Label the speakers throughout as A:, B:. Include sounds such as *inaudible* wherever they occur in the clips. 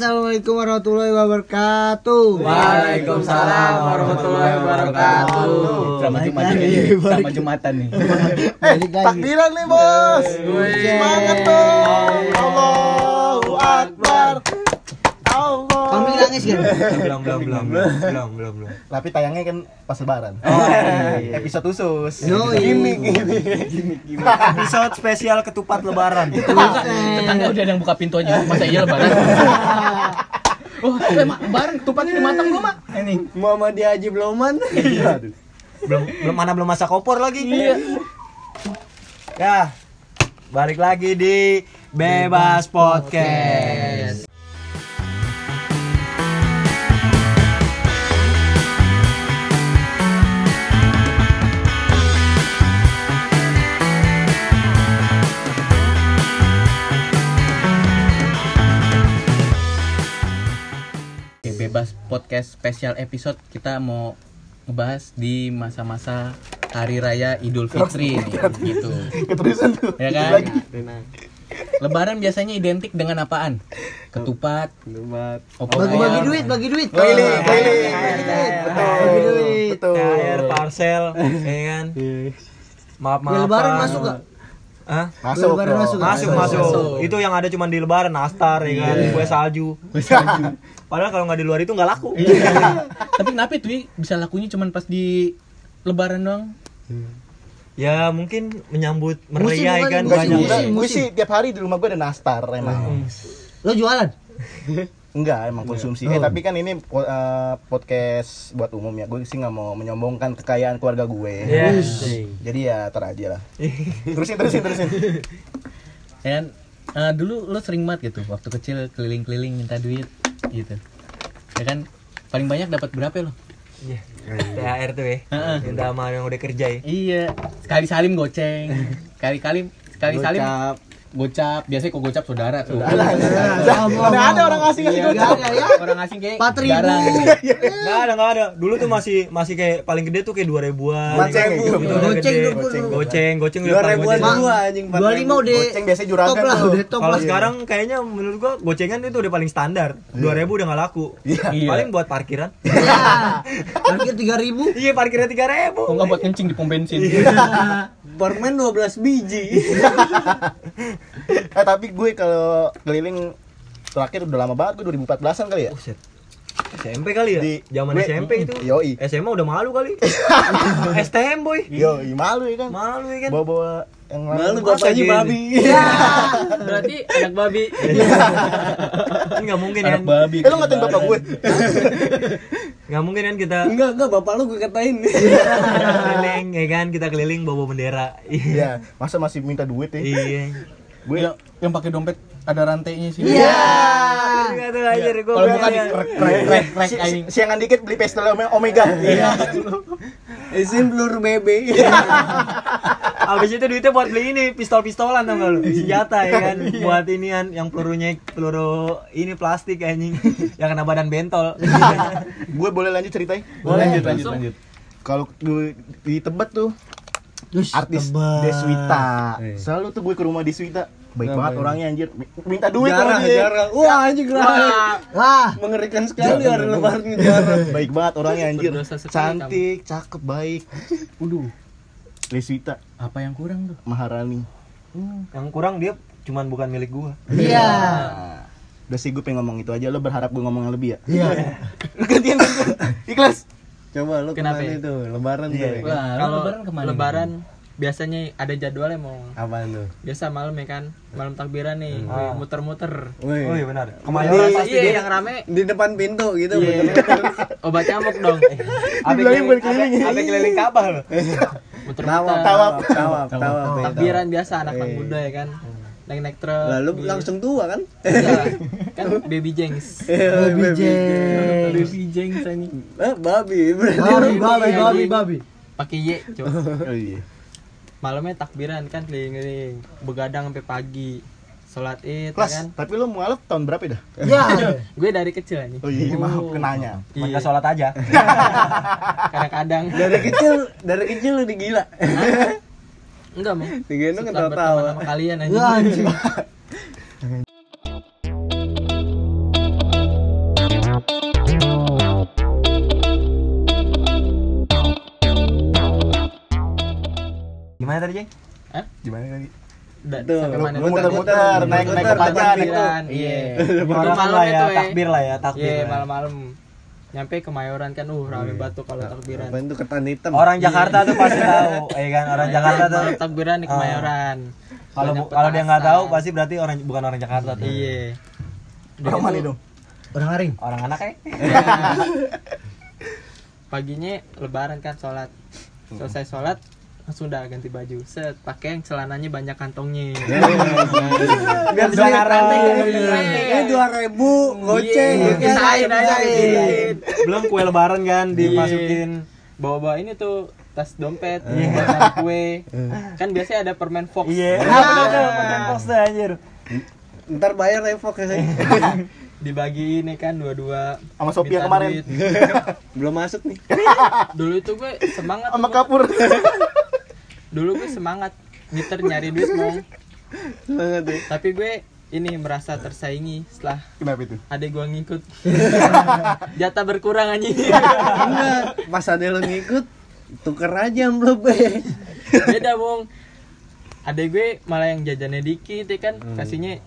A: Assalamualaikum warahmatullahi wabarakatuh.
B: Waalaikumsalam warahmatullahi wabarakatuh.
C: Selamat
A: Baik
C: Jumatan
A: lagi,
C: nih.
A: baik.
C: Selamat Jumatan nih.
A: Balik lagi.
B: Takbiran nih bos.
C: Wih.
B: Semangat dong. Allahu Akbar. Allah.
A: Kamu nangis kan?
D: belum belum belum belum belum belum
E: Tapi tayangnya kan pas lebaran.
A: Oh, iya.
E: Episode khusus.
A: Yoi.
D: episode spesial ketupat lebaran
C: Tetangga udah ada yang buka pintu aja. Masa iya lebaran? Oh, gue mak, bareng tupatnya udah matang gue mak. Ini.
B: Muhammad Haji Bloman.
D: belum belum mana belum masak opor lagi
A: Iya.
D: ya balik lagi di bebas podcast
C: Oke, bebas podcast spesial episode kita mau ngebahas di masa-masa hari raya Idul Fitri nih, gitu.
E: Keterusan tuh.
C: Ya kan? Lebaran biasanya identik dengan apaan? Ketupat,
B: Ketupat.
C: opor
A: Bagi bagi
C: ayam.
A: duit, bagi duit.
B: Keliling,
A: Bagi
B: keliling.
A: duit.
B: Betul.
A: Bagi duit.
E: Betul.
D: air
A: *laughs*
D: parcel ya kan maaf
A: Kue
D: maaf
A: lebaran masuk gak?
D: Hah?
A: Masuk,
E: Masuk.
A: lebaran
E: bro.
A: masuk. Iya.
D: masuk masuk itu yang ada cuma di lebaran nastar ya kan kue salju *laughs* padahal kalau nggak di luar itu nggak laku
A: Iya.
C: Tapi kenapa itu Wi? bisa lakunya cuma pas di Lebaran doang?
D: ya mungkin menyambut
A: Musim
D: meriah ya
A: bukan?
D: kan
E: Enggak
D: banyak
E: sih, gua-
A: Musim,
E: gua
A: musim. Hmm.
E: sih tiap hari di rumah gue ada nastar emang.
A: Lo jualan?
E: Enggak, emang
A: Iya.
E: konsumsi. Eh, tapi kan ini po- eh, podcast buat umum ya. Gue sih nggak mau menyombongkan kekayaan keluarga gue.
A: Iya.
D: Yes.
E: Jadi ya tar aja lah. terusin, terusin,
A: *laughs*
E: terusin.
C: Ya kan? Eh, dulu lo sering banget gitu waktu kecil keliling-keliling minta duit gitu. Ya kan? Paling banyak dapat berapa ya lo?
D: Iya. THR tuh ya.
C: Heeh.
D: Minta sama yang udah kerja ya.
C: Iya, sekali salim goceng. Kali-kali sekali salim gocap. Biasanya kok gocap saudara tuh.
A: Mana ada orang asing yang gocap? ya.
C: Orang asing kayak
A: Empat ribu. *laughs*
C: jarang.
B: Iya,
D: Enggak ada, enggak ada. Dulu tuh masih masih kayak paling gede tuh kayak 2000-an. Gitu,
E: Goceng,
D: udah
E: goceng,
D: gede.
A: goceng,
D: goceng,
A: dulu.
D: goceng, goceng udah paling goceng.
A: dulu
B: anjing.
A: Dua lima udah.
E: Goceng biasanya juragan
A: top lah,
E: tuh.
A: Udah top
D: Kalau
A: lah.
D: sekarang kayaknya menurut gua gocengan itu udah paling standar. 2000 udah nggak laku.
C: Iya.
D: Paling buat
C: *laughs*
D: parkiran.
A: Iya. Parkir tiga ribu.
D: iya, parkirnya 3000.
C: Kok nggak buat kencing di pom bensin?
B: Barman 12 biji.
E: *laughs* Eh, tapi gue kalau keliling terakhir udah lama banget gue 2014-an kali
A: Oh,
E: ya.
D: Buset. SMP kali ya?
E: Di-
D: Zaman
E: gue-
D: SMP itu.
E: Yoi.
D: SMA udah malu kali.
C: *laughs*
D: STM boy.
A: iya.
E: Yo, ih, malu ya kan.
D: Malu ya kan.
E: Bawa-bawa yang lain.
B: Malu
D: Masa
B: bapaknya
D: gini?
B: babi.
C: Iya. Berarti anak babi.
D: Kan nggak mungkin kan.
C: anak babi.
E: Eh, lo ngatain bapak gue. *laughs*
D: Nggak mungkin kan
C: Iya.
D: kita
C: *laughs*
B: Enggak, enggak bapak lu gue katain.
D: keliling ya kan kita keliling bawa bendera iya
E: Iya, masa masih minta duit ya?
D: *laughs* iya
E: Gue
C: Yang, yang pakai dompet ada rantainya sih.
A: Iya.
D: Nggak tahu aja deh, gua
C: Kalau
D: bilang
C: bukan
D: ya.
E: Rek, rek, rek,
C: aing.
E: iya. siangan dikit beli pastel Ome- Omega. Iya.
B: Isin blur bebe.
D: abis itu duitnya buat beli ini pistol-pistolan tau gak lu senjata ya kan buat inian yang pelurunya peluru ini plastik ya, anjing yang kena badan bentol
E: Iya. Gue boleh lanjut ceritain?
C: Boleh, lanjut, lanjut, lanjut.
E: Kalau gue di Tebet tuh
A: Terus.
E: artis Deswita. Selalu tuh gue ke rumah Deswita. Baik banget orangnya anjir. Minta duit
B: Jarang,
E: sama dia.
B: jarang. Wah, anjing lah.
A: Wah.
B: Mengerikan sekali hari lebaran jarang.
E: Baik banget orangnya anjir.
C: Berdosa sekali
E: Cantik, cakep, baik.
C: Waduh,
E: Deswita
C: apa yang kurang tuh?
E: Maharani.
D: yang kurang dia cuman bukan milik gua
A: Iya.
E: Nah, Udah sih gue pengen ngomong itu aja. Lo berharap gue ngomong yang lebih ya?
A: Iya.
E: Lo gantian gantian. *laughs* Ikhlas.
B: Coba lu kemana
F: Kenapa
B: Kan
F: ya?
B: itu? Lebaran
E: Iya.
C: Wah,
B: tuh.
F: kalau
C: kalau lebaran kemana?
F: lebaran biasanya ada jadwalnya mau
B: Apaan tuh?
F: biasa malam ya kan malam takbiran nih
D: Ah.
F: muter-muter iya,
D: oh
B: Wih.
D: iya benar
B: Kemayoran
D: kemayoran
B: pasti dia.
F: yang rame
B: Di depan pintu gitu.
C: Iya,
F: obat nyamuk dong
D: apa
E: Bilangnya bukan keliling.
D: apa keliling kabah lo
B: Tawap,
F: muter-muter
B: tawap, tawap, tawap. ya,
F: takbiran biasa anak anak
B: Eh.
F: muda ya kan naik naik
B: tawap.
F: truk
B: Lalu
F: di-
B: langsung tua kan?
F: Iya, *laughs* kan baby jengs
A: Babi jeng.
F: baby jengs anjing
B: Eh, babi.
A: Babi, babi,
F: Iya,
A: babi,
F: iya.
A: babi.
F: pakai ye coba
E: Oh iya.
F: malamnya takbiran kan keliling-keliling begadang sampai pagi sholat id ya
E: Kelas,
D: Iya
F: kan
E: tapi lo mualaf tahun berapa ya dah?
A: Iya.
F: gue dari kecil anjing
E: Oh iya, maaf kenanya.
F: Iya.
D: maka sholat aja
F: *laughs* kadang-kadang
B: Dari kecil, dari kecil lu digila.
F: enggak mau
B: Digila kan
F: setelah berteman
B: tawa-tawa.
F: sama kalian
A: Iya.
F: aja
A: anjing.
G: Gimana tadi, Jeng?
E: Gimana tadi?
D: Da-
B: Tuh,
D: sampai mana?
E: lu muter-muter, naik naik ke
B: Muter-muter,
E: panjang, naik
D: Takbiran,
E: tuh.
D: Iya.
G: Itu
D: Itu malam
G: lah ya,
D: itu ya.
G: takbir lah ya, takbir.
D: Iya,
G: lah.
D: malam-malam. Nyampe Kemayoran kan uh rame batu kalau takbiran.
B: Apaan tuh ketan hitam?
G: Orang Jakarta tuh pasti tahu, ya kan? Orang Jakarta tuh
D: Iya, Malam takbiran di
G: Ah.
D: Kemayoran.
G: kalau
D: Banyak
G: kalau dia nggak tahu
D: petasan.
G: pasti berarti orang bukan orang Jakarta tuh.
D: Iya. Udah
E: Orang
D: gitu,
E: mana dong?
A: Orang aring.
G: Orang anak ya?
D: *laughs* Paginya lebaran kan sholat. Selesai sholat langsung udah ganti baju. Set, pakai yang celananya banyak kantongnya.
G: *laughs* Iya,
B: biar sekarang ini dua ribu goceng
D: Iya,
B: ya kan?
D: pisahin aja, pisahin.
G: Belum kue lebaran kan dimasukin.
D: Iya. Bawa-bawa ini tuh tas dompet, bawa
G: *laughs*
D: kue. Kan biasanya ada permen fox.
G: Iya.
D: Nah,
G: Apa tuh permen box tuh anjir.
B: ntar bayar revok ya
C: *laughs*
B: saya
D: Dibagiin nih kan dua-dua.
E: Sama Sophia
D: Minta
E: kemarin.
D: duit.
B: belum masuk nih
D: Dulu itu gue semangat.
E: Sama
D: Bang.
E: kapur.
D: Dulu gue semangat ngiter nyari duit mau.
B: banget ya
D: Tapi gue ini merasa tersaingi setelah
E: *laughs* Kenapa itu?
D: adek gue
B: *laughs*
D: ngikut. Jatah berkurang anjing.
B: Enggak, pas ada lo ngikut tuker aja amplop ya
D: Beda, Bung. Adek gue malah yang jajannya dikit ya kan, kasihnya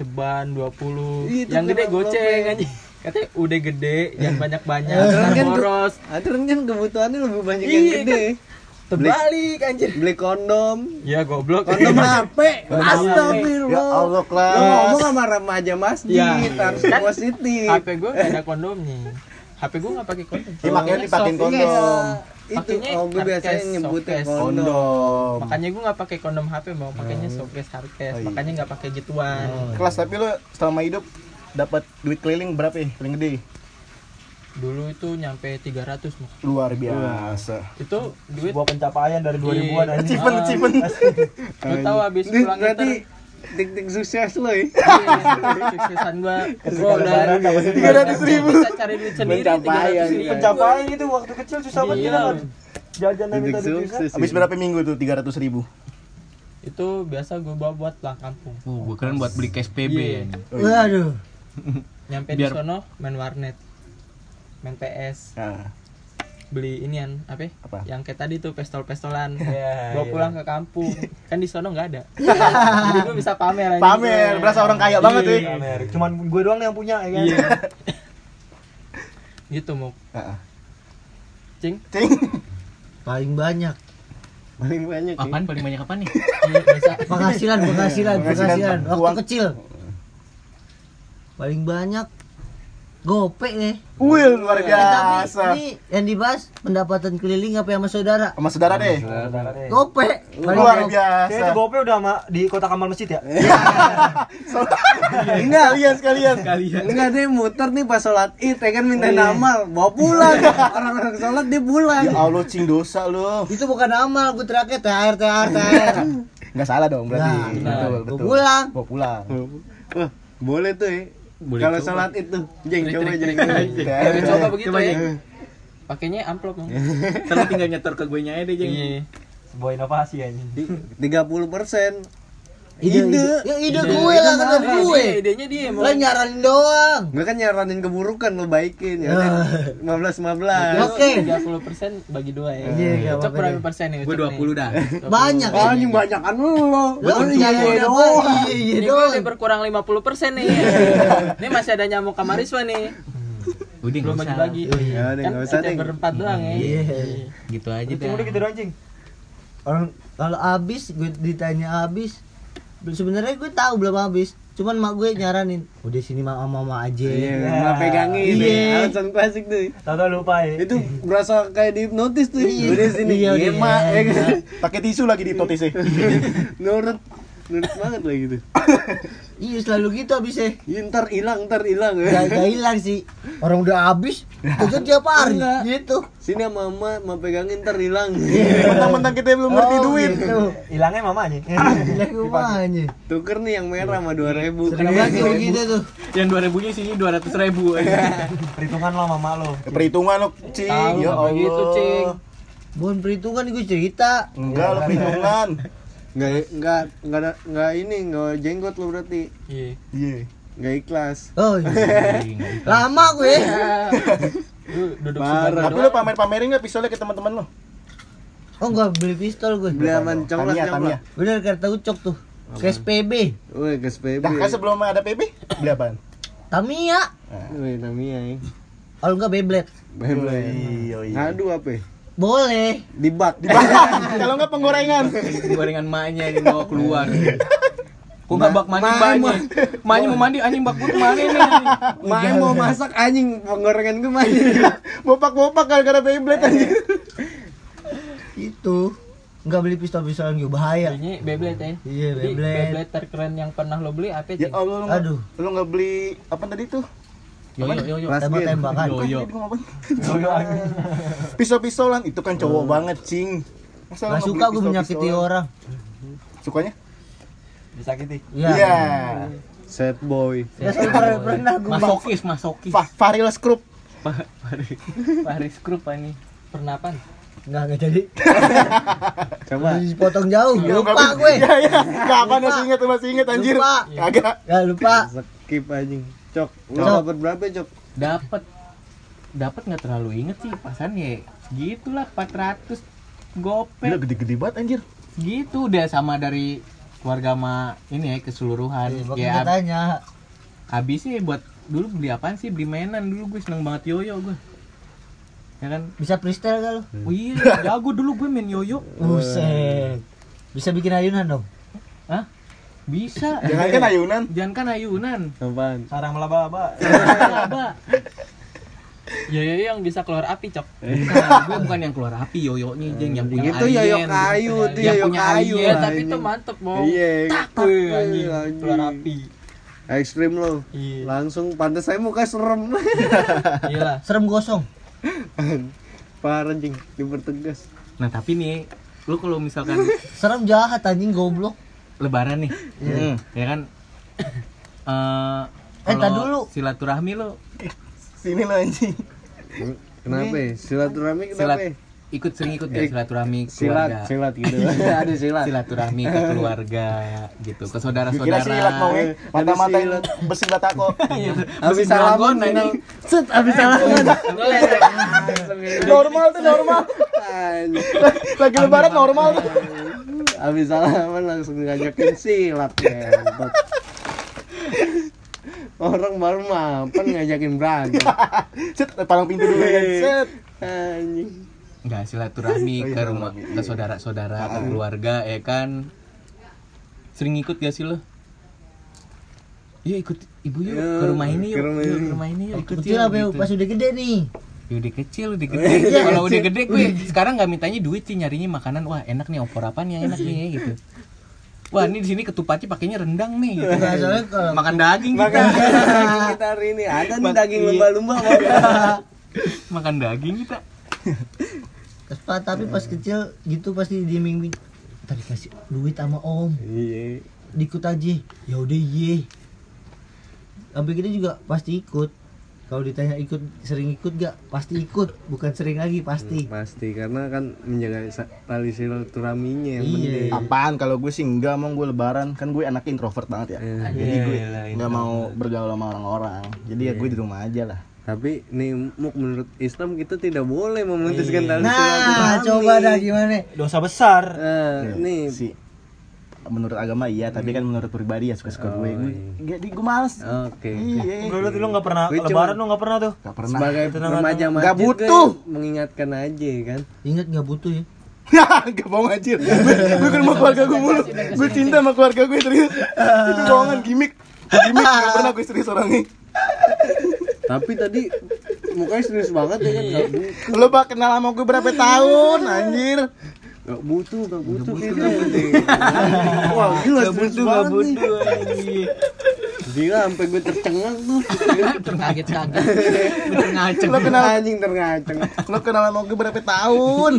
D: ceban 20.
B: Ih, itu
D: yang gede
B: kenapa,
D: goceng
B: Bang?
D: anjing. Katanya udah gede, jangan banyak-banyak,
B: Aturan
D: ntar
B: kan tuh-
D: boros.
B: aturan kan kebutuhannya lebih banyak yang
D: Iya,
B: gede
A: kan?
D: Terbalik anjir.
B: beli kondom
D: Ya goblok.
B: kondom HP
E: Ya
B: astagfirullah
E: Allah
B: lo
E: kelas.
B: ngomong sama remaja masjid
D: Iya.
B: harus
D: Kan-
B: positif
D: HP gue gak ada kondomnya. HP gue gak pakai kondom.
E: Iya, makanya dipakein
B: Iya,
E: kondom.
B: itu
D: Pakainya
B: oh gue biasanya
D: hardcase,
B: nyebutin
D: softcase.
B: kondom
E: Kondom.
G: Hmm.
D: Makanya gue gak pakai kondom HP, mau pakainya softcase
G: Oh,
D: hardcase,
G: iya.
D: makanya gak pakai gituan.
G: Hmm.
E: Kelas tapi lu selama hidup dapat duit keliling berapa ya? Paling gede.
D: Dulu itu nyampe 300 mah.
E: Luar biasa.
D: Itu duit Iya.
G: Sebuah pencapaian dari 2000-an anjir.
D: Cipen,
E: *laughs*
D: cipen. Lu tahu abis
B: Ini
D: pulang
B: berarti
D: ntar
B: tik-tik sukses lo ya
D: suksesan Iya, gua gua udah tiga ratus ribu bisa cari duit sendiri
B: Pencapaian,
C: iya.
D: 300 ribu.
G: Pencapaian itu waktu kecil susah banget
D: Iya.
G: gila kan. Jajan yang minta
B: tik-tik
G: duit susah.
B: sukses
E: Habis berapa minggu tuh 300 ribu?
D: itu biasa gua bawa buat pulang kampung
C: Uh, gue keren buat beli cash PB.
D: Iya.
A: Waduh.
D: nyampe di
C: Biar-
D: sono main warnet main PS
E: Nah,
D: beli inian apa, ya?
E: Apa?
D: yang kayak tadi tuh
G: *laughs*
D: pestol-pestolan
G: Iya,
D: bawa
G: iya.
D: pulang ke kampung kan di sono
G: *laughs*
D: nggak ada jadi gua bisa pamer aja.
E: Pamer, berasa orang kaya banget
D: Iya.
E: tuh.
G: Pamer. Cuman gue doang yang punya ya kan. *laughs*
D: gitu mau
E: Heeh.
D: cing
E: Ah, Cing.
A: Paling banyak.
B: paling banyak ya.
C: Apaan paling banyak apa nih?
D: Iya, bisa
A: Penghasilan, penghasilan, penghasilan.
E: Penghasilan,
A: Waktu
E: uang.
A: kecil. Paling banyak gopek nih.
E: Wih, luar
A: Tapi
E: biasa.
A: ini yang dibahas pendapatan keliling apa yang sama saudara?
E: Sama saudara deh.
A: Gopek. Paling
E: Luar
A: gopek.
E: biasa.
G: Kayaknya itu gope udah sama di kota Kamal Masjid ya.
B: enggak kalian sekalian kalian enggak dia muter nih pas sholat id ya kan minta
A: Iya.
B: amal bawa
A: *laughs*
B: pulang orang-orang sholat dia pulang
E: Ya Allah, cing dosa lu.
A: Itu bukan amal, gue terakhir THR, THR, THR.
E: Enggak salah dong
A: Nah,
E: berarti.
A: benar.
E: betul,
A: Gua
E: betul.
A: pulang.
E: Gua pulang.
B: Wah, boleh tuh ya
C: Boleh
B: kalau
C: coba.
B: sholat itu jeng coba
D: Trik-trik,
B: jeng
D: trik-trik. Jangan
E: Oke.
D: coba begitu ya. Pakainya amplop,
G: *laughs*
D: Bang.
C: Terus tinggal nyetor ke gue aja deh, Jeng.
D: Iya.
G: Sebuah inovasi anjing.
B: tiga puluh persen
A: Ide, ide.
B: ide
A: Ya, ide gue lah kata gue.
D: Dia Iya. idenya dia mau.
A: Lo nyaranin doang.
B: gue kan nyaranin keburukan lo baikin ya
E: Ah.
B: lima belas
D: Iya,
B: lima belas
A: Oke.
D: 30% bagi dua ya.
A: Iya, nggak
D: Ucup
A: apa-apa
D: berapa
A: deh.
D: persen nih?
C: Gue 20 dah.
A: Banyak. ya?
B: anjing banyakan kan lo
A: Lo
E: iya,
A: nyaranin apa? Iya, iya
D: Ini gue
A: doang.
D: udah berkurang 50% nih. Ini masih ada nyamuk kamariswa nih.
C: Udah nggak
D: Belum
C: usah.
D: bagi-bagi.
B: iya, deh,
D: Kan
B: nggak usah,
D: kita
B: deh.
D: berempat doang ya.
A: Iya.
C: Gitu aja
G: Cing udah
C: deh.
G: gitu doang anjing.
A: Orang kalau habis gue ditanya habis sebenarnya gue tahu belum habis cuman mak gue nyaranin udah sini mama mama aja
B: Iya, nggak pegangin
A: Iya.
B: ya. alasan klasik tuh
G: Tahu lupa ya.
B: itu berasa kayak dihipnotis tuh
A: Iya.
B: udah sini
A: Iya, udah.
B: emak ya kan
E: Pakai tisu lagi di eh.
B: *laughs*
E: hipnotisnya.
B: nurut nurut banget lah gitu
A: iya selalu gitu habisnya
B: Ya, ntar hilang ntar hilang
A: gak, gak hilang sih orang udah habis kerja tiap hari
B: Enggak.
A: gitu
B: sini sama mama mau pegangin ntar hilang
E: Mentang-mentang kita belum ngerti
A: Oh,
E: duit.
A: gitu.
G: Hilangnya mamanya.
A: Gila, gue mah, anjing.
B: tuker nih yang merah sama dua ribu
A: Sering banget kayak gitu tuh
C: Yang 2000 nya sini 200 ribu aja.
G: Perhitungan lo sama mak lo.
E: Ya, Perhitungan lo, cing.
D: Tahu
E: Ya
D: nggak
E: Allah.
D: begitu, Cing.
A: Bukan perhitungan gue cerita
E: Enggak lo perhitungan.
B: nggak nggak nggak ada- nggak ini nggak jenggot lo berarti
D: Iya.
E: Iya.
B: nggak ikhlas
A: Oh, iya. lama ya. gue.
D: Lu duduk
B: Parah.
D: sebelah
E: Tapi
D: doang.
E: lo pamer-pamerin nggak pistolnya ke teman-teman lo?
A: Oh gua beli pistol gue.
B: Beli aman coklat
E: Tamiya, Tamiya.
B: coklat.
A: Bener kartu ucok tuh. Cash PB.
B: Woi, gas PB.
E: Dah kan sebelum ada PB beli apaan?
A: Tamiya.
B: Woi, Tamiya. ya.
A: Kalau enggak Beyblade.
E: Iya, iya.
A: Nah.
B: Ngadu apa? ya?
A: Boleh.
B: Di bak.
E: *laughs* Kalau enggak penggorengan.
C: gorengan maknya ini bawa keluar Kok gak bak mandi banyak? Maknya mau mandi anjing bak gue kemana nih?
B: Main mau masak anjing penggorengan gue main.
E: *laughs* Bopak-bopak gara-gara Beyblade anjing.
A: Itu. Enggak beli pistol-pistolan gue bahaya.
F: Belinya Beyblade ya.
A: Iya,
F: Jadi,
A: Beyblade.
F: Beyblade terkeren yang pernah lo beli apa
E: Ya
F: sih?
E: Allah, lu nggak-
A: Aduh.
E: Lu enggak beli apa tadi tuh?
C: Yo yo yo yo.
B: Plastik.
A: Tembak-tembakan.
C: Yo yo.
E: Tadi gua ngomong *laughs* apa? Pisau-pisauan itu kan cowok banget, cing. Masa
A: Gak
E: lu nggak
A: Iya. suka
E: beli
A: gue menyakiti
E: pisau-pisauan?
A: orang.
E: Sukanya?
D: disakiti
A: Iya.
E: Iya.
B: Set boy.
A: Ya sekarang pernah
B: Nah,
A: gue
C: Masokis, masokis.
E: Fa- Faril Scrub.
C: Paris Group ini.
F: Pernah apa?
A: Enggak enggak jadi.
B: Coba.
A: Dipotong jauh. Lupa gue.
E: Iya, *laughs* iya. Enggak apa masih ingat, masih ingat anjir.
A: Lupa.
E: Kagak.
A: Ya lupa.
B: Skip anjing. Cok, lu
A: Cok.
B: dapat berapa, Cok?
C: Dapat dapat nggak terlalu inget sih pasan ya gitulah 400
E: Gila
C: gopek
E: gede-gede banget anjir.
C: gitu udah sama dari keluarga ma ini ya
F: Iya,
C: keseluruhan
A: Makanya
F: kan
C: ya ab-
A: tanya.
C: habis sih buat dulu beli apaan sih beli mainan dulu gue seneng banget yoyo gue ya kan
A: Bisa freestyle gak lu?
C: oh iya jago dulu gue main yoyo
A: Buset. Bisa bikin ayunan dong?
C: Hah? bisa
E: Jangan kan ayunan.
C: jangan kan ayunan
B: Apaan?
D: sarang melaba-laba
C: Laba.
F: Ya ya yang bisa keluar api cok.
C: Nah, gue bukan yang keluar api yoyonya jeng yang punya
B: Itu
C: alien.
B: yoyo Gitu, ya, kayu, itu
C: Yang
B: yoyo
C: punya
B: kayu.
C: alien,
F: Iya
B: lah,
F: tapi
B: anjing.
F: itu mantep mau.
B: Nah, Iya,
F: Tak, tak,
B: wih,
F: anjing.
B: anjing.
F: Keluar api.
B: Ekstrim lo.
F: Iya.
B: Langsung pantas saya muka serem. *laughs*
F: Iya lah.
A: Serem gosong.
B: Parah anjing, dipertegas.
C: Nah tapi nih, lu kalau misalkan
A: Serem jahat anjing goblok.
C: lebaran nih,
B: Iya.
C: ya kan? eh
A: Eh,
C: kalau
A: tar dulu.
C: Silaturahmi lu
E: Sini lo anjing.
B: Kenapa? ya? Silaturahmi
C: silat
B: kenapa? ya? Iya.
C: ikut sering ikut ya silaturahmi keluarga.
B: Silat, silat gitu. *laughs* Ada silat.
C: Silaturahmi ke keluarga gitu, ke
E: Gua Kira
C: saudara-saudara.
E: silat mau
B: Eh,
E: mata-matain
B: ada silat.
E: bersilat
A: *laughs*
E: aku.
A: Iya.
B: Habis salaman tinggal set habis salaman.
E: Normal tuh normal. *laughs* Lagi lebaran normal *laughs* tuh.
B: Habis salaman langsung ngajakin silat ya, kentut. Orang baru mapan ngajakin berantem.
E: Cet, palang pintu dulu ya. Cet.
B: Anjing.
C: Enggak
B: *laughs*
C: silaturahmi
B: Oh, iya,
C: ke rumah ke saudara-saudara,
B: Ah.
C: ke keluarga ya kan. Sering ikut gak sih lu? Yuk ikut ibu yuk
B: Yuk,
C: ke rumah ini yuk,
B: Iya, ke rumah
C: yuk
B: ini. Oh,
C: ke rumah ini yuk ikut
A: Kecil
C: yuk,
A: lah
B: ya,
A: Beu,
C: gitu.
A: pas udah gede nih.
C: Ya udah kecil,
B: *laughs*
C: udah gede.
B: Iya,
C: Kalau udah gede gue sekarang nggak mintanya duit sih nyarinya makanan. Wah, enak nih opor apa nih yang enak nih gitu. Wah, ini di sini ketupatnya pakainya rendang nih gitu.
B: *laughs*
A: Nah, soalnya kalau
C: Makan daging kita. iya.
B: Makan daging kita hari ini ada nih daging lumba-lumba mau.
C: *laughs* Makan daging kita.
A: Kespa, tapi
B: Hmm.
A: pas kecil gitu pasti diiming-iming tadi kasih duit sama om
B: Iya.
A: diikut aja ya udah iye sampai gede juga pasti ikut kalau ditanya ikut sering ikut gak pasti ikut bukan sering lagi pasti
B: Pasti karena kan menjaga sa- tali silaturahminya yang penting.
A: iya
E: Apaan kalau gue sih enggak mau gue lebaran kan gue anak introvert banget ya. Jadi gue nggak mau bergaul sama orang-orang. Jadi ya gue di rumah aja lah.
B: Tapi nih Muk, menurut Islam kita tidak boleh memutuskan tali
A: nah coba dah gimana
D: dosa besar
B: Eh,
E: Ya,
B: nih
E: si menurut agama iya, tapi kan menurut pribadi ya suka-suka gue. Gue jadi gue males.
B: Oke.
E: Iya.
D: Udah lu lu nggak pernah
B: Gua cuma-
D: lebaran lu nggak pernah tuh.
E: Gak pernah.
B: Sebagai remaja masjid
E: Nggak
B: gue
E: butuh.
B: mengingatkan aja kan.
A: ingat nggak butuh ya
E: *laughs* Gak bohong anjir Gue ke rumah keluarga gue mulu Gue cinta sama keluarga gue serius Itu bohongan gimmick Gimmick gak pernah gue serius orangnya
B: Tapi tadi mukanya serius banget ya kan enggak butuh.
E: Lo bak kenal sama gue berapa tahun anjir
B: Gak butuh, gak butuh kita. Wah, gila serius banget nih. Gila sampai gue tercengang tuh.
F: Terkaget-kaget.
C: Ngaceng.
E: Lo kenal
B: Anjing terngaceng.
E: Lo kenal sama gue berapa tahun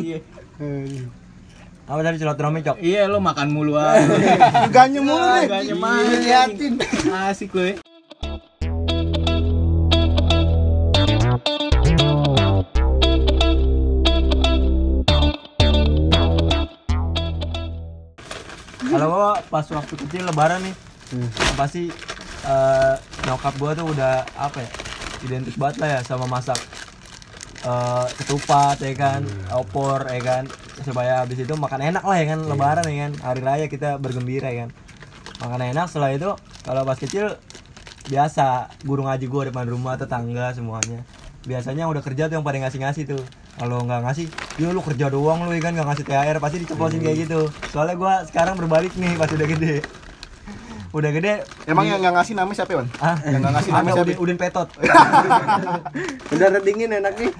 D: Apa tadi silaturahmi cok?
C: Iya, lo makan mulu aja.
E: Ganya mulu deh
C: Gak nyaman. Liatin. Asik lo ya.
D: Kalau gua pas waktu kecil lebaran nih, yang pasti eh, nyokap gua tuh udah apa ya? Identik
E: Iya.
D: banget lah ya sama masak eh, ketupat ya kan, opor ya kan. supaya habis itu makan enak lah ya kan lebaran ya kan hari raya kita bergembira ya kan makan enak setelah itu kalau pas kecil biasa guru ngaji gua depan rumah tetangga semuanya biasanya yang udah kerja tuh yang paling ngasih-ngasih tuh kalau nggak ngasih ya lu kerja doang lu ya kan nggak ngasih THR pasti diceplosin
E: Iya.
D: kayak gitu soalnya gua sekarang berbalik nih pas udah gede udah gede
E: Emang yang nggak ngasih namanya siapa, Wan?
D: ah
E: Yang nggak ngasih
D: ada
E: namanya siapa? ya?"
D: udin, udin petot
B: Udara dingin enak nih.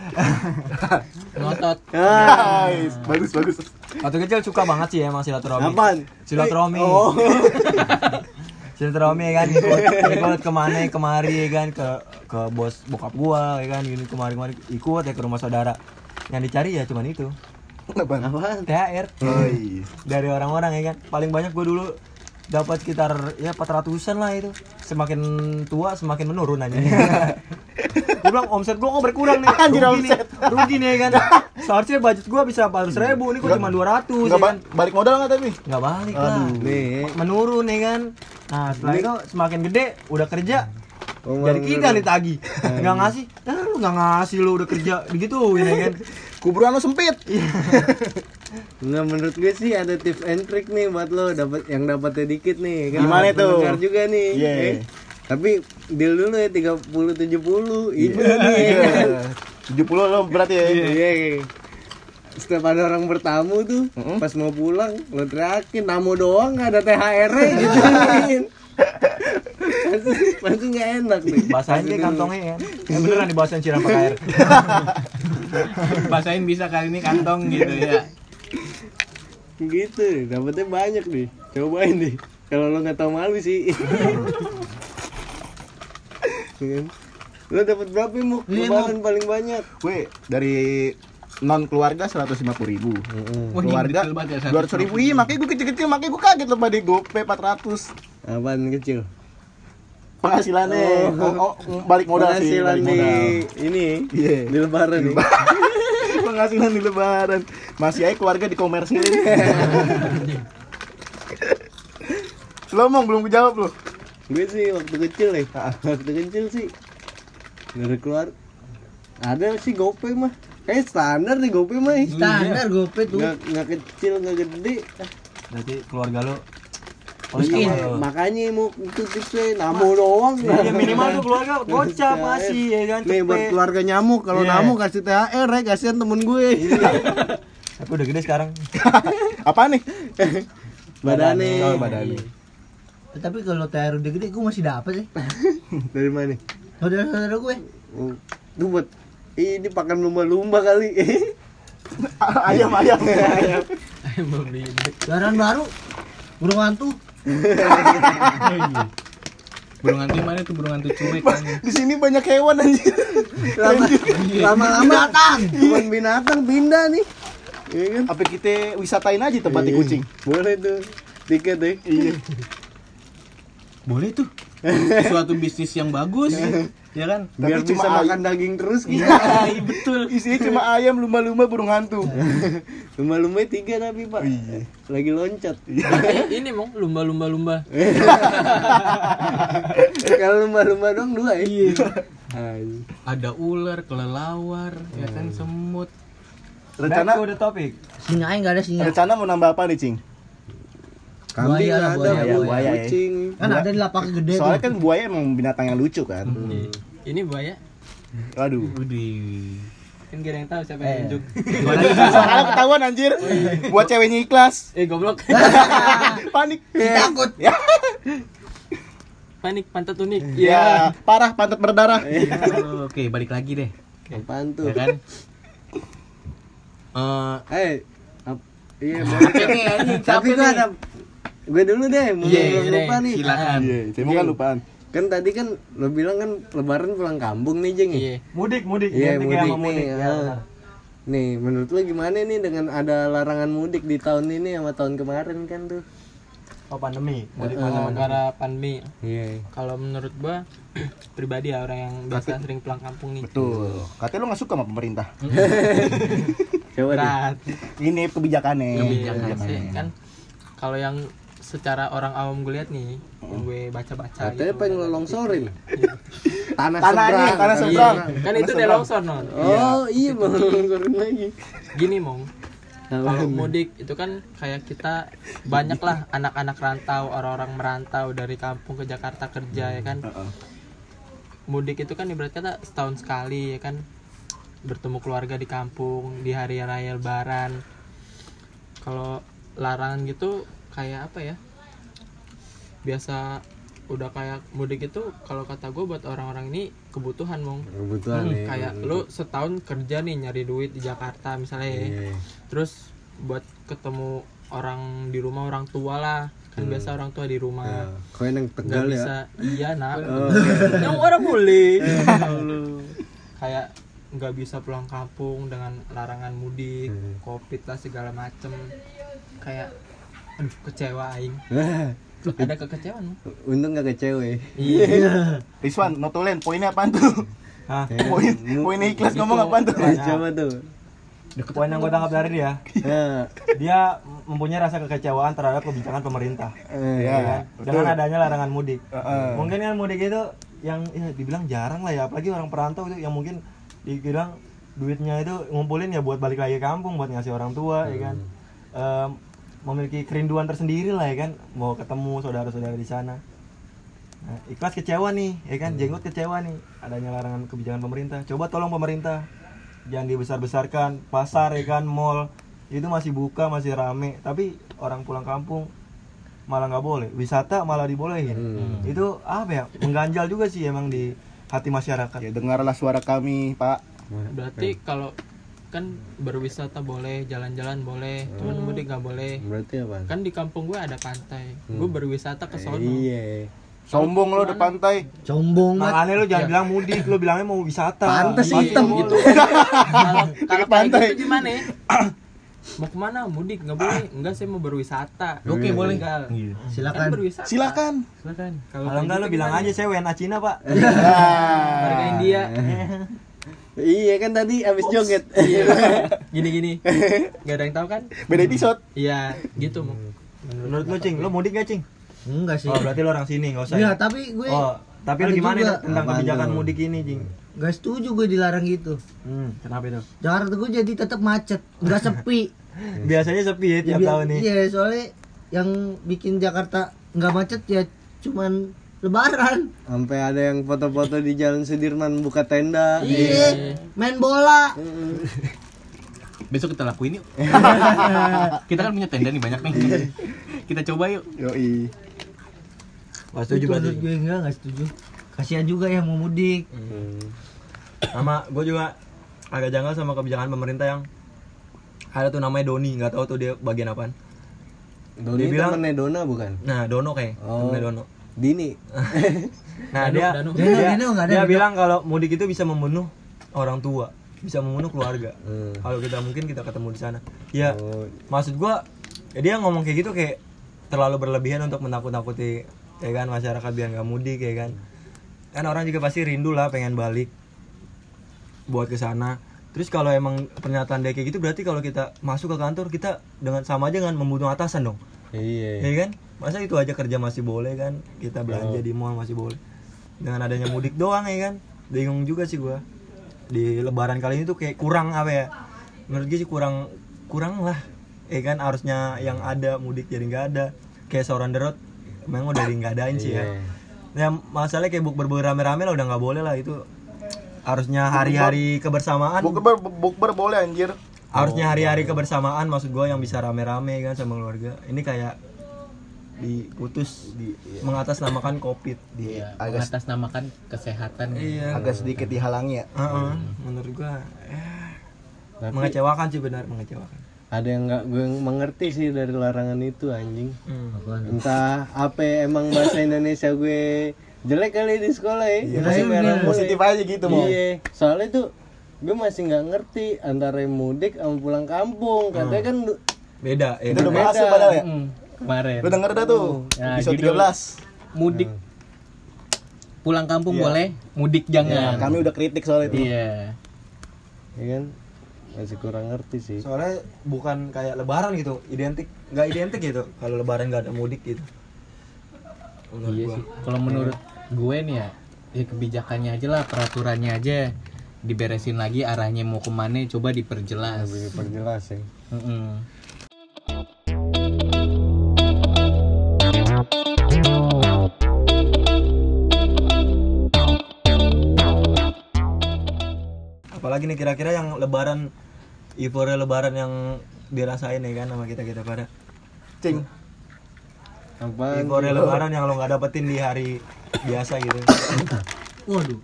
F: ngotot
E: Guys, bagus bagus.
D: waktu kecil suka banget sih emang silaturahmi
B: Apaan?
D: silaturahmi
B: Oh.
D: *laughs* silaturahmi ya kan ikut, ikut kemana kemari ya kan ke ke bos bokap gua ya kan gini kemari kemari ikut ya ke rumah saudara yang dicari ya cuman itu
E: Apaan?
B: Apaan?
D: THR
E: Oi.
D: dari orang-orang ya kan paling banyak gue dulu dapat sekitar ya 400-an lah itu semakin tua semakin menurun aja
B: Iya.
D: gue bilang omset gue kok berkurang
B: *laughs*
D: nih rugi nih rugi nih ya kan seharusnya budget gue bisa 400 ribu ini kok cuma 200 ya
E: Enggak
D: kan
E: balik modal nggak tapi?
D: nggak balik lah
B: Nih.
D: menurun ya kan nah setelah itu semakin gede udah kerja
B: Oh,
D: dari kita nih tagi
B: Nah,
D: nggak
B: iya.
D: ngasih eh, lu nggak ngasih lu udah kerja gitu ya kan
E: Kuburan lo sempit.
C: Iya.
B: Nah menurut gue sih ada tips and trick nih buat lo dapat yang dapatnya dikit nih. Kan
E: Gimana tuh?
B: pendengar juga nih.
E: Iya.
B: Eh, tapi deal dulu ya 30 70. Ini nih.
E: Tujuh puluh lo berarti ya.
B: Iya. Setiap ada orang bertamu tuh, pas mau pulang lo teriakin namo doang nggak ada THR-nya gituin. gitu. pasti pasti nggak enak nih.
D: bahasain deh kantongnya ya eh, beneran dibahasain siram pakai air
C: Basahin bisa kali ini kantong gitu ya.
B: Gitu, dapetnya banyak nih. Cobain deh. Kalau lo nggak tahu malu sih. Iya kan? lo dapat berapa mu?
E: Iya,
B: Lebaran paling banyak.
E: Gue dari non keluarga seratus lima puluh ribu,
C: Wah, ini
E: keluarga
C: detail banget ya,
E: dua ratus ribu. Iya, makanya gue kecil-kecil, makanya gue kaget lo pada gope empat ratus
B: Apaan kecil?
E: penghasilannya. Oh, oh, balik modal sih,
B: Penghasilan
E: balik
B: di
E: modal.
B: ini
E: Iya.
B: di lebaran nih.
E: *laughs* penghasilan di lebaran masih aja keluarga dikomersilin *laughs* lo mong belum kejawab lo
B: gue sih waktu kecil nih *laughs* waktu kecil sih nggak ada keluar ada sih gopay mah kayak standar nih gopay
E: Hmm.
B: mah ya.
A: standar gope tuh
B: nggak nggak kecil nggak gede
D: berarti keluarga lo
B: Iya, makanya mau itu tipsnya namo doang
D: Iya minimal tuh keluarga gocap masih ya kan
B: nih buat
D: cepet.
B: keluarga nyamuk kalau
D: Iya.
B: namo kasih thr ya kasihan temen gue *laughs*
D: Tapi udah gede sekarang.
E: apa nih *laughs*
B: badannya
E: oh, badani
A: tapi kalau THR udah gede gue masih dapet sih
B: dari mana
A: saudara-saudara gue
B: Oh, tuh buat Ih, ini pakan lumba-lumba kali *laughs*
E: ayam ayam *laughs*
A: barang baru burung hantu
C: Burung hantu mana tuh burung hantu cuek.
E: di sini banyak hewan anjir
B: lama lama-lama
A: binatang
B: teman binatang pindah nih iya kan
E: apa kita wisatain aja tempatnya
B: Iya.
E: kucing
B: boleh tuh tiket deh iya
C: Boleh tuh. Suatu bisnis yang bagus. Ya kan?
B: biar
E: Tapi cuma
B: bisa
E: ayam.
B: makan daging terus gitu
C: Iya, betul.
E: isinya cuma ayam lumba-lumba burung hantu
B: lumba-lumba tiga tapi pak lagi loncat
F: Eh, ini mong lumba lumba lumba
B: Iya. kalau lumba-lumba doang dua ya iya
C: Ada ular, kelelawar, ya kan semut.
D: Rencana
E: rencana
D: udah topik.
A: singa aja nggak ada singa
E: rencana mau nambah apa nih cing
B: kambing
A: Buaya lah,
B: ada
A: buaya,
B: bu-
E: buaya, ya.
B: kucing
A: kan ada di lapak gede
E: soalnya
A: tuh
E: kan buaya emang binatang yang lucu kan
F: ini buaya
E: aduh
C: Widih.
F: kan gak ada yang tahu siapa
D: Eh.
F: yang nunjuk
E: *laughs* soalnya ketahuan anjir buat ceweknya ikhlas
F: eh goblok *laughs*
E: panik
A: takut
F: panik pantat unik Iya.
E: ya parah pantat berdarah
C: Oke, balik lagi deh.
B: apaan
C: Ya
B: tuh
C: kan? Eh,
B: eh ap- iya boleh tapi gue ada gue dulu deh mau
C: Iya,
B: belum
C: iya,
B: lupa
C: deh.
B: nih
C: silakan.
E: iya saya kan lupaan
B: kan tadi kan lo bilang kan lebaran pulang kampung nih jeng ya?
F: iya
D: Mudik, mudik.
B: Iya
D: Ganti kayak
B: mudik
D: sama
B: nih.
D: Ya,
B: ah.
D: benar.
B: Nih menurut lu gimana nih dengan ada larangan mudik di tahun ini sama tahun kemarin kan tuh?
D: Oh, pandemi. Mudik masa
F: Sama negara pandemi
B: Iya.
F: kalau menurut gua pribadi ya orang yang biasa sering pulang kampung nih
E: Betul. Katanya lu gak suka sama
F: *laughs*
E: pemerintah.
B: Coba deh.
F: berat
E: Ini kebijakannya.
F: Iya, sih, kan kalau yang secara orang awam gue lihat nih yang gue baca-baca
B: Katanya
F: gitu.
B: pengen lo longsorin.
F: Iya.
B: Tanah
E: Tanahnya,
B: seberang.
E: tanah seberang.
B: Tanah kan. seberang.
F: kan itu udah longsor non
B: Oh iya mau longsorin lagi.
F: gini mong kalau mudik itu kan kayak kita banyak lah anak-anak rantau orang-orang merantau dari kampung ke Jakarta kerja ya kan mudik itu kan ibarat kata setahun sekali ya kan bertemu keluarga di kampung di hari raya lebaran kalau larangan gitu kayak apa ya biasa udah kayak mudik itu kalau kata gue buat orang-orang ini kebutuhan mong
B: kebutuhan
F: Hmm,
B: ya
F: kayak lu setahun kerja nih nyari duit di Jakarta misalnya ya.
B: Iya.
F: terus buat ketemu orang di rumah orang tua lah kan biasa orang tua di rumah
B: Nah, kau yang
F: nggak
B: tegal *laughs*
F: bisa
B: ya
F: iya nak
B: Oh.
F: yang orang boleh kayak nggak bisa pulang kampung dengan larangan mudik covid lah segala macem kayak aduh kecewa aing ada kekecewaan Mong.
B: untung gak kecewe
E: Rizwan, notulen, poinnya apaan tuh?
D: Hah?
F: Iya.
E: Poin, poin ikhlas
F: Gitu.
E: ngomong apaan tuh?
B: coba tuh
D: Poin yang gue tangkap dari dia,
B: Nah,
D: dia mempunyai rasa kekecewaan terhadap kebijakan pemerintah
B: eh,
E: Ya,
D: ya,
E: betul.
D: dengan adanya larangan mudik.
E: Heeh.
D: Mungkin kan mudik itu yang ya, dibilang jarang lah ya, apalagi orang perantau itu yang mungkin dibilang duitnya itu ngumpulin ya buat balik lagi ke kampung, buat ngasih orang tua, ya kan.
E: Hmm.
D: Em, memiliki kerinduan tersendiri lah ya kan, mau ketemu saudara-saudara di sana. Nah, ikhlas kecewa nih, ya
A: Hmm.
D: kan, jenggot kecewa nih, adanya larangan kebijakan pemerintah. Coba tolong pemerintah, jangan dibesar-besarkan, pasar ya kan, mall itu masih buka, masih rame, tapi orang pulang kampung malah nggak boleh, wisata malah dibolehin.
A: Hmm.
D: Itu apa ya, mengganjal juga sih emang di hati masyarakat.
E: Ya dengarlah suara kami, Pak.
F: berarti kalau kan berwisata boleh jalan-jalan boleh cuman mudik nggak boleh
B: berarti apa?
F: kan di kampung gue ada pantai gue berwisata ke sono
B: Iya.
E: Sombong lo di pantai.
A: Sombong banget.
D: Makanya lu jangan bilang mudik, lu bilangnya mau wisata.
A: Nah, iya. Pantes
D: Pasti
A: hitam.
D: boleh.
F: gitu kalau kalau kayak
E: pantai.
F: gitu gimana ya? *coughs* mau kemana mudik nggak boleh enggak saya mau berwisata
C: Oke, boleh.
F: Tinggal. kan
B: Iya.
A: Silakan.
F: berwisata
E: Silakan.
F: silakan
D: Kalau enggak lu bilang aja saya WNA Cina, Pak.
F: warga India
B: Iya kan tadi abis
E: *laughs*
B: joget.
F: Eh, gini gini nggak ada yang tahu kan
E: Iya. Beda episode.
F: iya gitu mau
D: Menurut lu, Cing, lu mudik gak, Cing?
A: Enggak sih.
D: Oh, berarti lu orang sini, enggak usah.
A: Ya,
D: ya?
A: tapi gue
D: Oh, tapi
A: ada
D: lu gimana
A: juga.
D: Dok, tentang
B: Apaan
D: kebijakan
B: tuh?
D: mudik ini, Jing?
A: nggak setuju gue dilarang gitu.
D: Hmm, kenapa itu?
A: Jakarta gue jadi tetap macet, nggak sepi.
D: Biasanya sepi ya *laughs* tiap
A: Ya,
D: tahun nih.
A: Iya, soalnya yang bikin Jakarta nggak macet ya cuman Lebaran.
B: Sampai ada yang foto-foto di Jalan Sudirman buka tenda.
A: Iya, main bola.
C: Besok kita lakuin yuk. kita kan punya tenda nih banyak nih. kita coba yuk.
E: Yoi.
D: Wah, setuju
A: Itu
D: berarti.
A: menurut gue enggak, enggak setuju. Kasihan juga yang mau mudik.
D: sama gue juga agak janggal sama kebijakan pemerintah yang ada tuh namanya Doni nggak tahu tuh dia bagian apaan Dia
B: Doni
D: bilang-
B: temennya Dona bukan?
D: nah Dono kayak
B: Oh.
D: namanya Dono
B: Dini.
D: nah dia
F: Danu.
D: dia,
A: Danu, Danu, nggak ada
D: dia
A: Danu.
D: bilang kalau mudik itu bisa membunuh orang tua bisa
A: *laughs*
D: membunuh keluarga
A: Eh.
B: Hmm.
D: kalau kita mungkin kita ketemu di sana ya
B: Oh.
D: maksud gua ya dia ngomong kayak gitu kayak terlalu berlebihan untuk menakut-nakuti ya kan masyarakat biar nggak mudik ya kan kan orang juga pasti rindu lah pengen balik buat ke sana terus kalau emang pernyataan dia kayak gitu berarti kalau kita masuk ke kantor kita dengan sama aja dengan membunuh atasan dong
B: Iya. Oh.
D: ya kan masa itu aja kerja masih boleh kan kita belanja di mall masih boleh dengan adanya mudik doang ya kan bingung juga sih gua di lebaran kali ini tuh kayak kurang apa ya menurut gue sih kurang kurang lah ya kan harusnya yang ada mudik jadi nggak ada kayak seorang derot memang udah di nggak adain sih ya ya
B: Iya.
D: masalahnya kayak bukber rame-rame lah udah nggak boleh lah itu harusnya hari-hari
F: Kan-
D: kebersamaan
E: Bukber bukber boleh anjir.
D: harusnya hari-hari kebersamaan maksud gue yang bisa rame-rame kan sama keluarga ini kayak diputus mengatasnamakan covid
E: Dia agak
C: Mengatasnamakan kesehatan.
D: iya
E: agak sedikit dihalangi ya.
D: Heeh, menurut gue eh, mengecewakan sih benar mengecewakan
B: Ada yang nggak gue mengerti sih dari larangan itu anjing. Entah apa ya, emang bahasa Indonesia gue jelek kali di sekolah ya.
D: Iya,
B: Masih merah mulu.
E: Positif aja gitu mau.
B: Iya, soalnya tuh gue masih nggak ngerti antara mudik sama pulang kampung. Katanya kan du-
D: beda ya
E: Itu udah
D: kan?
E: bahas tuh padahal ya.
F: Hmm, kemarin
E: Lu denger dah tuh.
F: Nah,
E: Episode
F: judul.
E: 13.
F: mudik pulang kampung boleh mudik
E: Nah,
F: jangan
E: kami udah kritik soal itu.
F: iya
B: ya kan masih kurang ngerti sih.
D: soalnya bukan kayak lebaran gitu identik nggak identik gitu kalau lebaran nggak ada mudik gitu menurut
F: Iya
D: gua.
F: sih. Kalau menurut gue nih ya, ya kebijakannya aja lah, peraturannya aja.
C: diberesin lagi arahnya mau kemana coba diperjelas
B: perjelas ya
C: Mm-mm.
D: Apalagi nih kira-kira yang lebaran euforia lebaran yang dirasain ya kan sama kita kita pada
E: Cing.
B: apa
D: euforia lebaran yang lo nggak dapetin di hari biasa gitu
A: waduh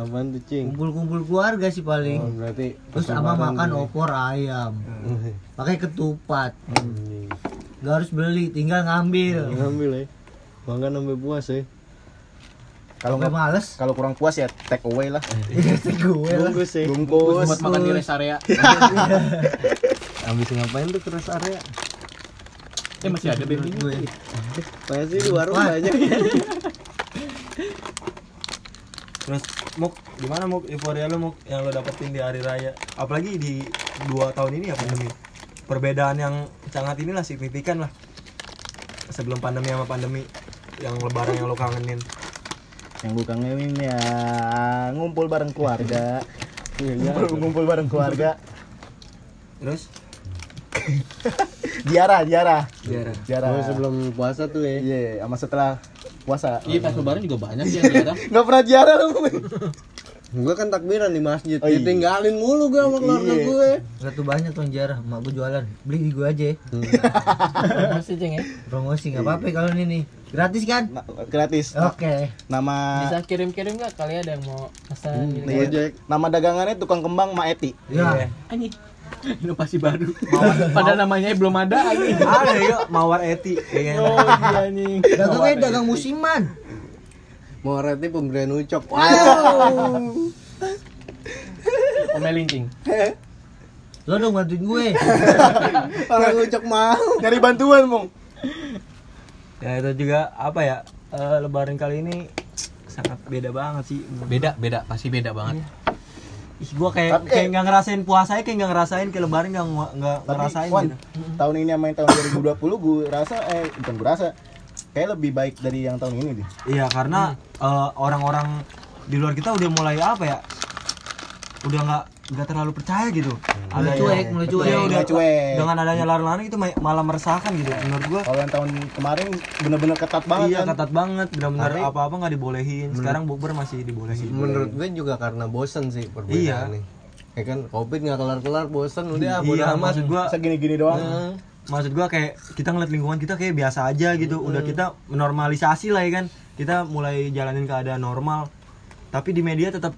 B: apaan tuh cing
A: kumpul-kumpul keluarga sih
B: oh,
A: paling
B: berarti
A: terus sama makan opor ayam
D: Hmm.
B: *laughs*
A: pakai ketupat nggak harus beli tinggal
D: Hmm.
A: ngambil
B: ngambil ya makan sampai puas ya
E: Kalau
A: sampai
E: nggak
A: males
E: kalau kurang puas ya take away lah.
A: *laughs* gue lah
B: bungkus ya
E: Bungkus.
C: buat makan di rest area
B: habis ngapain tuh keras area
C: eh masih ada baby
A: gue
B: pasti di warung
A: Wah.
B: banyak ya
D: terus muk gimana muk euforia lo muk yang lo dapetin di hari raya apalagi di dua tahun ini ya pandemi perbedaan yang sangat inilah signifikan lah sebelum pandemi sama pandemi yang lebaran yang lo kangenin
E: yang bukan ngewin ya ngumpul bareng keluarga Iya, ngumpul, ngumpul bareng keluarga
D: terus
E: *laughs* ziarah ziarah
D: biar
E: ziarah
B: Oh, sebelum puasa tuh ya
E: iya sama setelah puasa
C: iya pas lebaran juga banyak sih
B: Iya.
C: yang datang
E: nggak pernah ziarah lu
B: Gue kan takbiran di masjid,
E: Oh, iya.
B: ditinggalin mulu gue sama keluarga
E: Iya.
B: gue.
A: Gak tuh banyak tuh yang jarah, emak gue jualan Beli di gue aja ya
F: masih ceng ya
A: Promosi gak apa-apa kalau ini nih Gratis kan?
E: Na- Nah, gratis Na-
A: Oke
E: nama
F: bisa kirim-kirim nggak kali ada yang mau pesan gitu
E: iya,
F: kan?
E: nama dagangannya tukang kembang Ma Eti
A: Ya,
C: anjing inovasi baru pada namanya belum ada anjing
D: ada ya mawar eti ya kan?
F: oh iya anjing
A: dagangnya dagang musiman
B: Mau reti pemberian ucok. Wow.
F: omelin cing
A: Lo dong bantuin gue
B: Orang ucok mau.
E: nyari bantuan mong
D: ya itu juga apa ya eh, lebaran kali ini sangat beda banget sih
C: beda beda pasti beda banget
B: Iya.
D: Ih, gua kayak kayak nggak ngerasain puasanya kayak nggak ngerasain kayak lebaran nggak nggak- nggak
E: tapi
D: ngerasain
E: Wan,
D: gitu.
E: tahun ini sama yang tahun 2020 gue rasa eh bukan gue rasa kayak lebih baik dari yang tahun ini deh
D: Iya karena
A: Hmm.
D: eh, orang-orang di luar kita udah mulai apa ya? Udah nggak nggak terlalu percaya gitu.
A: Hmm. Mulai cuek, mulai cuek.
D: Iya, udah
E: Mulai cuek.
D: Dengan adanya larangan itu ma- malah meresahkan gitu. Menurut gua
E: kalau yang tahun kemarin bener-bener ketat banget
D: iya
E: kan Hmm.
D: ketat banget. Benar-benar apa-apa nggak dibolehin. Sekarang bukber masih dibolehin.
B: Menurut gue juga karena bosen sih perbedaan
D: Iya.
B: nih. Ya kan covid nggak kelar-kelar bosen udah bodo
D: Iya,
B: amat.
D: maksud gua
E: segini-gini doang
D: Nah, maksud gua kayak kita ngeliat lingkungan kita kayak biasa aja gitu udah kita normalisasi lah ya kan kita mulai jalanin keadaan normal tapi di media tetap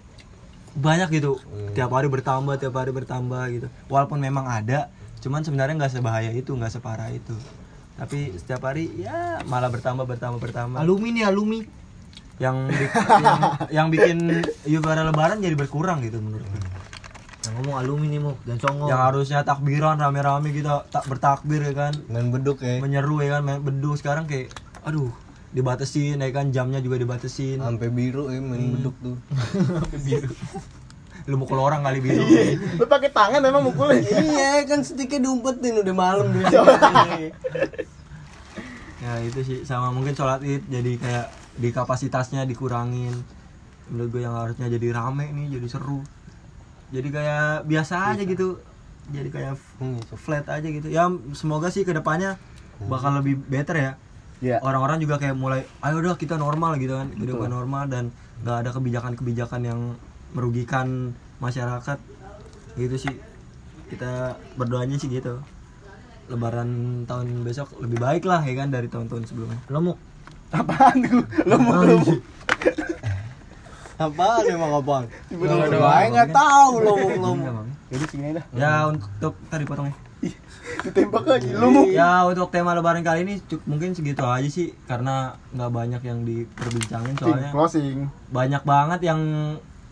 D: banyak gitu tiap hari bertambah tiap hari bertambah gitu walaupun memang ada cuman sebenarnya nggak sebahaya itu nggak separah itu tapi setiap hari ya malah bertambah bertambah bertambah
A: Alumi nih alumi
D: yang, bi- *laughs* yang yang bikin Yubara lebaran jadi berkurang gitu menurut gue
A: Yang ngomong alumi nih mau dan songong
D: yang harusnya takbiran rame-rame kita tak bertakbir ya kan
B: Main beduk ya.
D: menyeru ya kan main bedu sekarang kayak aduh dibatasin ya kan jamnya juga dibatasin Hmm.
B: Sampai biru ya main beduk
D: *laughs*
B: tuh.
D: lu mukul orang kali biru
E: lu pakai tangan emang mukulnya
B: iya kan sedikit diumpetin udah malam *laughs* dia.
D: ya itu sih sama mungkin sholat id jadi kayak di kapasitasnya dikurangin menurut gue yang harusnya jadi rame nih jadi seru jadi kayak biasa aja gitu jadi kayak f- flat aja gitu ya semoga sih kedepannya bakal lebih better ya
E: Iya.
D: orang-orang juga kayak mulai ayo udah kita normal gitu kan kehidupan normal dan nggak ada kebijakan-kebijakan yang merugikan masyarakat gitu sih kita berdoanya sih gitu lebaran tahun besok lebih baik lah ya kan dari tahun-tahun sebelumnya
A: Lo mau
E: apaan tuh lu mau lu mau
B: Apaan emang apaan?
C: Iya.
E: Tiba-tiba
B: Gue nggak tahu lo lo.
E: jadi segini dah
D: kan? Iya, ya untuk tadi potongnya
E: ditembak aja lu mau
D: ya untuk tema lebaran kali ini cuk- mungkin segitu aja sih karena nggak banyak yang diperbincangin soalnya
E: closing
D: banyak banget yang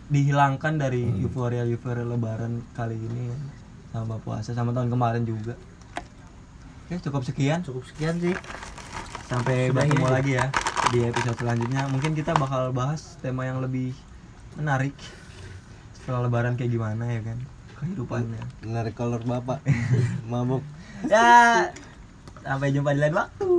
D: dihilangkan dari euforia euforia lebaran kali ini sama puasa sama tahun kemarin juga oke cukup sekian
A: cukup sekian sih
D: sampai bertemu lagi ya di episode selanjutnya mungkin kita bakal bahas tema yang lebih menarik setelah lebaran kayak gimana ya kan kehidupannya
C: *laughs*
B: Menarik kolor bapak. Mabuk.
D: ya sampai jumpa di lain waktu